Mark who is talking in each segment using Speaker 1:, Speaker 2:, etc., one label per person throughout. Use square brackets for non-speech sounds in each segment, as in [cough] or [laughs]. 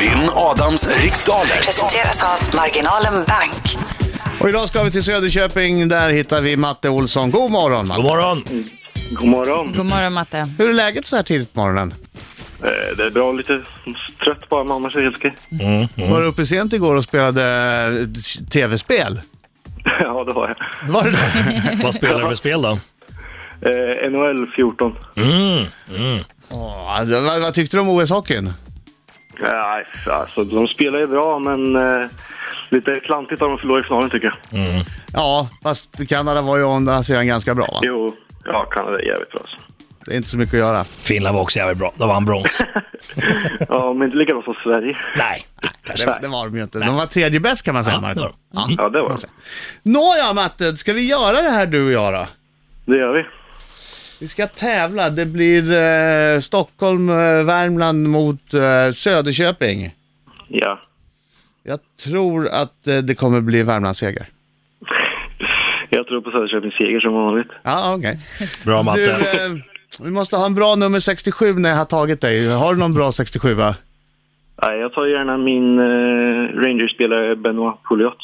Speaker 1: Vinn Adams riksdaler.
Speaker 2: Presenteras av Marginalen Bank.
Speaker 3: Och idag ska vi till Söderköping, där hittar vi Matte Olsson. God morgon Matte!
Speaker 4: God morgon!
Speaker 5: God morgon.
Speaker 6: God morgon Matte.
Speaker 3: Hur är läget så här tidigt på morgonen?
Speaker 5: Eh, Det är bra, lite trött bara, men annars är det helt okej.
Speaker 3: Var du uppe sent igår och spelade eh, s- tv-spel?
Speaker 5: [laughs] Ja, det har jag.
Speaker 3: Var det det?
Speaker 4: Vad spelar du för spel då?
Speaker 5: Eh, NHL 14.
Speaker 3: Åh, alltså, vad, vad tyckte du om OS-hockeyn?
Speaker 5: Nej, alltså de spelar ju bra, men eh, lite klantigt har de förlorat i finalen tycker jag.
Speaker 3: Ja, fast Kanada var ju å andra sidan ganska bra va?
Speaker 5: Jo, ja, Kanada är jävligt bra alltså.
Speaker 3: Det är inte så mycket att göra.
Speaker 4: Finland var också jävligt bra. De vann [laughs] brons.
Speaker 5: Ja, men inte lika bra som Sverige.
Speaker 4: Nej, kanske
Speaker 3: Det,
Speaker 4: inte.
Speaker 3: det var de ju inte. De var tredje bäst kan man säga,
Speaker 4: Ja, det
Speaker 3: Marco.
Speaker 4: var de.
Speaker 3: Ja. Mm.
Speaker 5: Ja, det var det.
Speaker 4: Mm.
Speaker 3: Nåja, Matte, ska vi göra det här du och jag då?
Speaker 5: Det gör vi.
Speaker 3: Vi ska tävla. Det blir eh, Stockholm, eh, Värmland mot eh, Söderköping.
Speaker 5: Ja.
Speaker 3: Jag tror att eh, det kommer bli Värmlandsseger.
Speaker 5: Jag tror på Söderköpings seger som vanligt.
Speaker 3: Ja, okej.
Speaker 4: Bra
Speaker 3: Du,
Speaker 4: matte.
Speaker 3: eh, vi måste ha en bra nummer 67 när jag har tagit dig. Har du någon bra 67? Va?
Speaker 5: Nej, jag tar gärna min eh, Rangers-spelare Benoit Pouliot.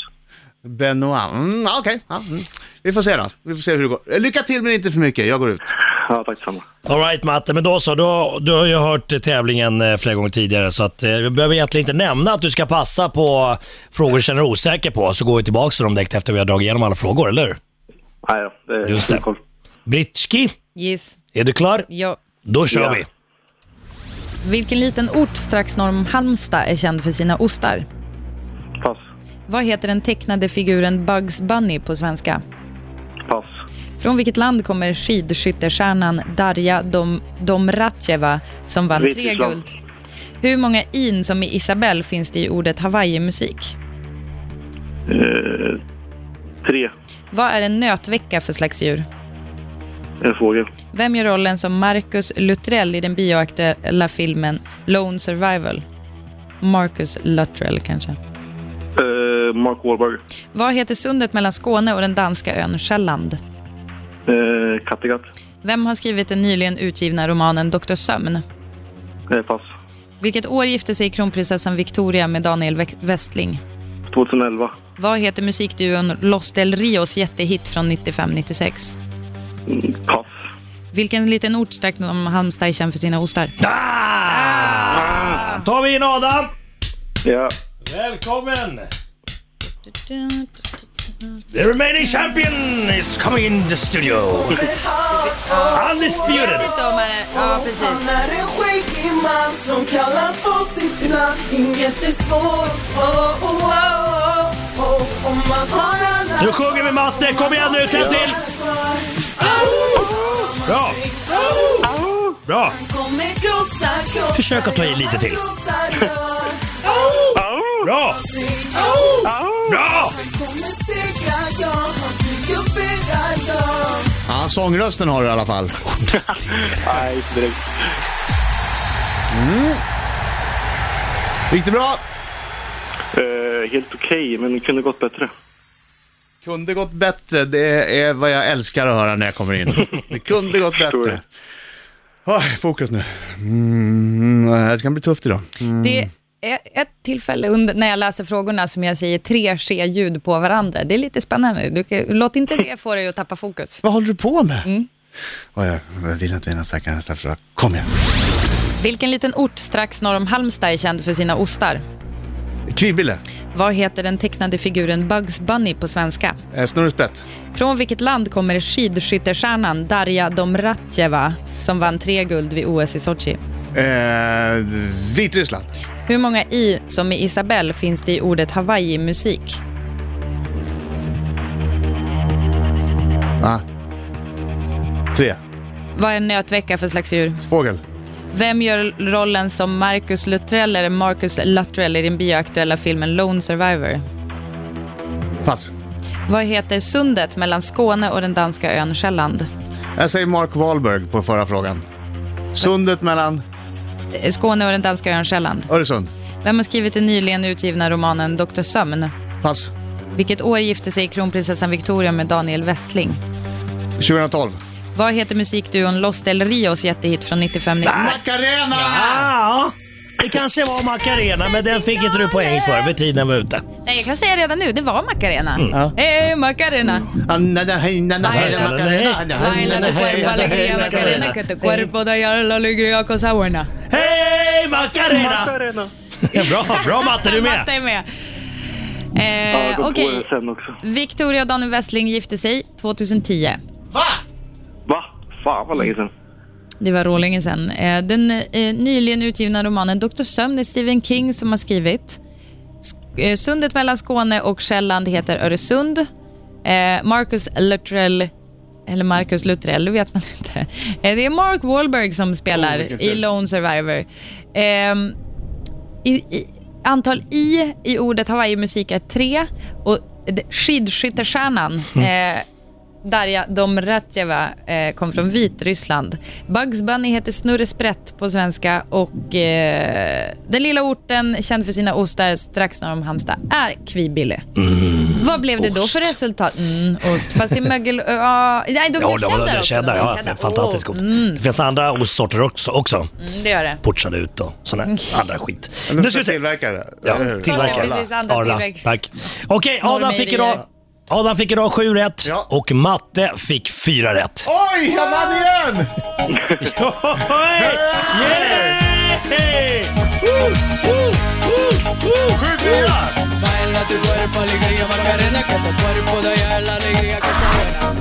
Speaker 3: Benoit. Mm, ja, okej. Ja, mm. Vi får se då. Vi får se hur det går. Eh, Lycka till men inte för mycket. Jag går ut.
Speaker 5: Ja, tack detsamma.
Speaker 4: All right matte, men då så. Du har, du har ju hört eh, tävlingen eh, flera gånger tidigare så att eh, vi behöver egentligen inte nämna att du ska passa på frågor du känner dig osäker på så går vi tillbaka till dem direkt efter vi har dragit igenom alla frågor, eller hur?
Speaker 5: Nej då, det är
Speaker 4: Just det.
Speaker 5: full koll.
Speaker 4: Britski,
Speaker 6: Yes.
Speaker 4: är du klar?
Speaker 6: Ja.
Speaker 4: Då kör
Speaker 5: Ja.
Speaker 4: vi!
Speaker 6: Vilken liten ort strax norr om Halmstad är känd för sina ostar?
Speaker 5: Pass.
Speaker 6: Vad heter den tecknade figuren Bugs Bunny på svenska?
Speaker 5: Pass.
Speaker 6: Från vilket land kommer skidskyttestjärnan Darja Dom, Domratjeva som vann tre
Speaker 5: Vitryssland.
Speaker 6: guld? Hur många in som i Isabel finns det i ordet Hawaii-musik?
Speaker 5: Eh, tre.
Speaker 6: Vad är en nötvecka för slags djur?
Speaker 5: En fågel.
Speaker 6: Vem gör rollen som Marcus Luttrell i den bioaktuella filmen Lone Survival? Marcus Luttrell kanske.
Speaker 5: Eh, Mark Wahlberg.
Speaker 6: Vad heter sundet mellan Skåne och den danska ön Själland?
Speaker 5: Eh, Kattegatt.
Speaker 6: Vem har skrivit den nyligen utgivna romanen Dr. Sömn?
Speaker 5: Eh, pass.
Speaker 6: Vilket år gifte sig kronprinsessan Victoria med Daniel Wek- Westling?
Speaker 5: 2011.
Speaker 6: Vad heter musikduon Los del Rios jättehit från 95-96?
Speaker 5: Mm, Pass.
Speaker 6: Vilken liten ort strax om Halmstad är känd för sina ostar?
Speaker 4: Ah! tar vi in Adam!
Speaker 5: Ja.
Speaker 4: Välkommen! The remaining champion is coming in the studio. Undisputed.
Speaker 6: Ja, precis.
Speaker 7: Han är en skäggig man som kallas på sitt namn Inget är svårt, oh, oh, oh, oh. Om man har alla
Speaker 4: Nu sjunger vi matte, kom igen nu, tänd till! Bra! Bra!
Speaker 7: Kommer krossa, krossa
Speaker 4: Försök att ta i lite till.
Speaker 7: krossar jag.
Speaker 4: Bra! Bra!
Speaker 7: Kommer segra jag, han tycker bära jag
Speaker 3: Ja, sångrösten har du i alla [laughs] fall.
Speaker 5: Nej, inte direkt.
Speaker 3: Mm. Gick det bra?
Speaker 5: Eh, helt okej, men det kunde gått bättre.
Speaker 3: Kunde gått bättre. Det är vad jag älskar att höra när jag kommer in. Det kunde [laughs] gått bättre. Oj, fokus nu. Mm, det ska bli tufft idag.
Speaker 6: Det är ett tillfälle under, när jag läser frågorna som jag säger tre C-ljud på varandra. Det är lite spännande. Du, kan- låt inte det få dig att tappa fokus.
Speaker 3: Vad håller du på med? Oj, jag vill inte vinna starkare nästa försök. Kom igen.
Speaker 6: Vilken liten ort strax norr om Halmstad är känd för sina ostar?
Speaker 3: Kvibille.
Speaker 6: Vad heter den tecknade figuren Bugs Bunny på svenska?
Speaker 3: Eh, Snurresprätt.
Speaker 6: Från vilket land kommer skidskyttestjärnan Darja Domratjeva som vann tre guld vid OS i Sochi?
Speaker 3: Eh, Vitryssland.
Speaker 6: Hur många i som i Isabel finns det i ordet Hawaii-musik?
Speaker 3: Ah. Tre.
Speaker 6: Vad är en nötvecka för slags djur?
Speaker 3: Fågel.
Speaker 6: Vem gör rollen som Marcus Luttrell eller Marcus Luttrell i den bioaktuella filmen Lone Survivor?
Speaker 3: Pass.
Speaker 6: Vad heter sundet mellan Skåne och den danska ön Själland?
Speaker 3: Jag säger Mark Wahlberg på förra frågan. Sundet mellan
Speaker 6: Eh, Skåne och den danska ön Själland.
Speaker 3: Öresund.
Speaker 6: Vem har skrivit den nyligen utgivna romanen Dr. Sömn?
Speaker 3: Pass.
Speaker 6: Vilket år gifte sig kronprinsessan Victoria med Daniel Westling?
Speaker 3: 2012.
Speaker 6: Vad heter musikduon Los del Rios jättehit från 95
Speaker 3: Macarena!
Speaker 4: Ah, Det kanske var Macarena, men den fick inte du poäng för, för tiden var ute.
Speaker 6: Nej, jag kan säga redan nu, det var Macarena.
Speaker 4: Mm.
Speaker 3: Ja.
Speaker 6: Hej Macarena! Baila tu cuerpo alegría Macarena, que tu cuerpo da ya la alegría cosa buena.
Speaker 4: Hej Macarena! Bra, bra Matte, du är
Speaker 6: Matte
Speaker 4: med.
Speaker 6: är med.
Speaker 5: Ja,
Speaker 6: Eh,
Speaker 5: gå på
Speaker 6: Okej,
Speaker 5: den sen också.
Speaker 6: Victoria och Daniel Westling gifte sig 2010.
Speaker 5: Va? Fan vad länge sen.
Speaker 6: Det var rålänge sedan. Eh, Den eh, nyligen utgivna romanen Dr. Sömn är Stephen King som har skrivit. Sk- eh, Sundet mellan Skåne och Själland heter Öresund. Eh, Marcus Luttrell, eller Marcus Luttrell, det vet man inte. Eh, Det är Mark Wahlberg som spelar i Lone Survivor. Ehm, i, i, antal i i ordet Hawaii-musik är tre och d- skidskyttestjärnan
Speaker 4: Mm.
Speaker 6: eh, Darja Domratjeva eh, kom från Vitryssland. Bugs Bunny heter Snurre Sprätt på svenska och eh, den lilla orten känd för sina ostar strax norr om Halmstad är Kvibille.
Speaker 4: Mm.
Speaker 6: Vad blev det då för resultat? Mm, ost. Fast det är mögel... ja, nej, då blev
Speaker 4: Ja,
Speaker 6: det
Speaker 4: det var
Speaker 6: cheddar
Speaker 4: det.
Speaker 6: också.
Speaker 4: Cheddar, ja.
Speaker 6: Mm. Då blev cheddar.
Speaker 4: Fantastiskt
Speaker 6: Åh,
Speaker 4: gott. Det finns andra ostsorter också. också.
Speaker 6: mm, det gör det.
Speaker 4: Portchad ut och sådana
Speaker 6: Mm.
Speaker 4: andra skit. Nu
Speaker 3: Nu
Speaker 4: ska vi se.
Speaker 3: Tillverkare.
Speaker 4: Ja,
Speaker 3: eller hur?
Speaker 6: Tillverkare.
Speaker 3: Arla.
Speaker 6: Precis, andra
Speaker 4: Arla.
Speaker 6: tillverk.
Speaker 4: Tack. Okej, Adam fick idag... Adam fick idag sju rätt
Speaker 3: Ja.
Speaker 4: och Matte fick fyra rätt.
Speaker 3: Oj, jag vann igen!
Speaker 4: Hej! Yay! Woo! Woo! Woo! Woo!
Speaker 3: 7-4!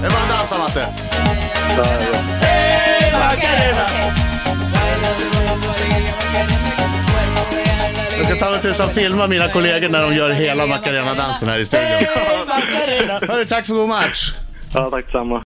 Speaker 3: Det var en dansa, Matte. Jag ska ta mig tusan filma mina kollegor när de gör hela Macarena-dansen här i studion. Hörru, tack för god match.
Speaker 5: Ja, tack samma.